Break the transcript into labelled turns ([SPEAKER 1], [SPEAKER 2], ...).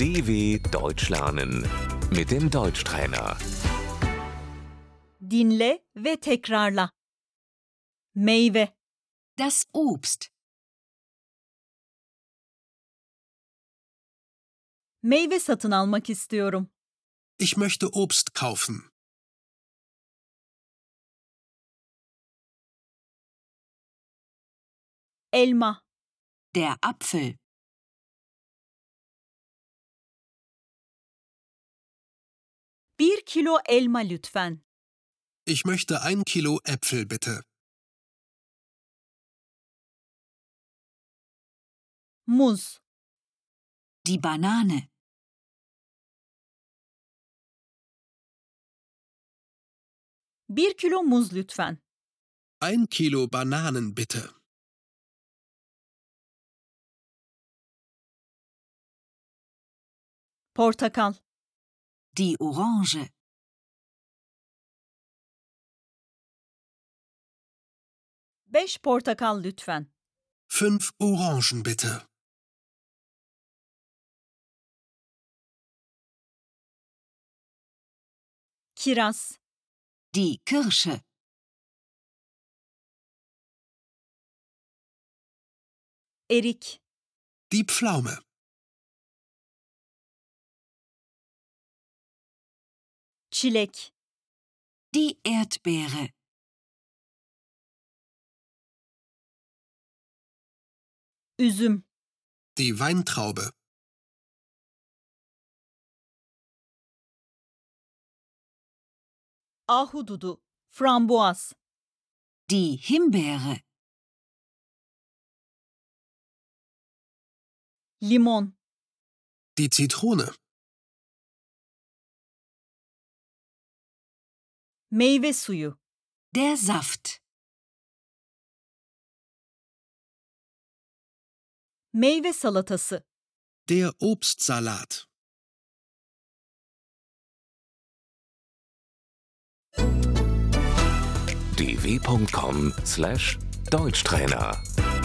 [SPEAKER 1] DW Deutsch lernen mit dem Deutschtrainer.
[SPEAKER 2] Dinle ve tekrarla. Meyve,
[SPEAKER 3] Das Obst,
[SPEAKER 2] meyve satın almak istiyorum.
[SPEAKER 4] Ich möchte Obst kaufen.
[SPEAKER 2] Elma,
[SPEAKER 3] der Apfel,
[SPEAKER 2] bir kilo elma lütfen.
[SPEAKER 4] Ich möchte ein Kilo Äpfel bitte.
[SPEAKER 2] Muz,
[SPEAKER 3] die Banane,
[SPEAKER 2] bir kilo muz lütfen.
[SPEAKER 4] Ein Kilo Bananen bitte.
[SPEAKER 2] Portakal,
[SPEAKER 3] die Orange,
[SPEAKER 2] beş portakal lütfen.
[SPEAKER 4] Fünf Orangen bitte.
[SPEAKER 2] Kiraz,
[SPEAKER 3] die Kirsche,
[SPEAKER 2] erik,
[SPEAKER 4] Die Pflaume.
[SPEAKER 2] çilek,
[SPEAKER 3] die Erdbeere,
[SPEAKER 2] üzüm,
[SPEAKER 4] Die Weintraube.
[SPEAKER 2] ahududu, frambuaz,
[SPEAKER 3] die Himbeere,
[SPEAKER 2] limon,
[SPEAKER 4] Die Zitrone.
[SPEAKER 2] meyve suyu,
[SPEAKER 3] der Saft,
[SPEAKER 2] meyve salatası,
[SPEAKER 4] Der Obstsalat.
[SPEAKER 1] dw.com/deutschtrainer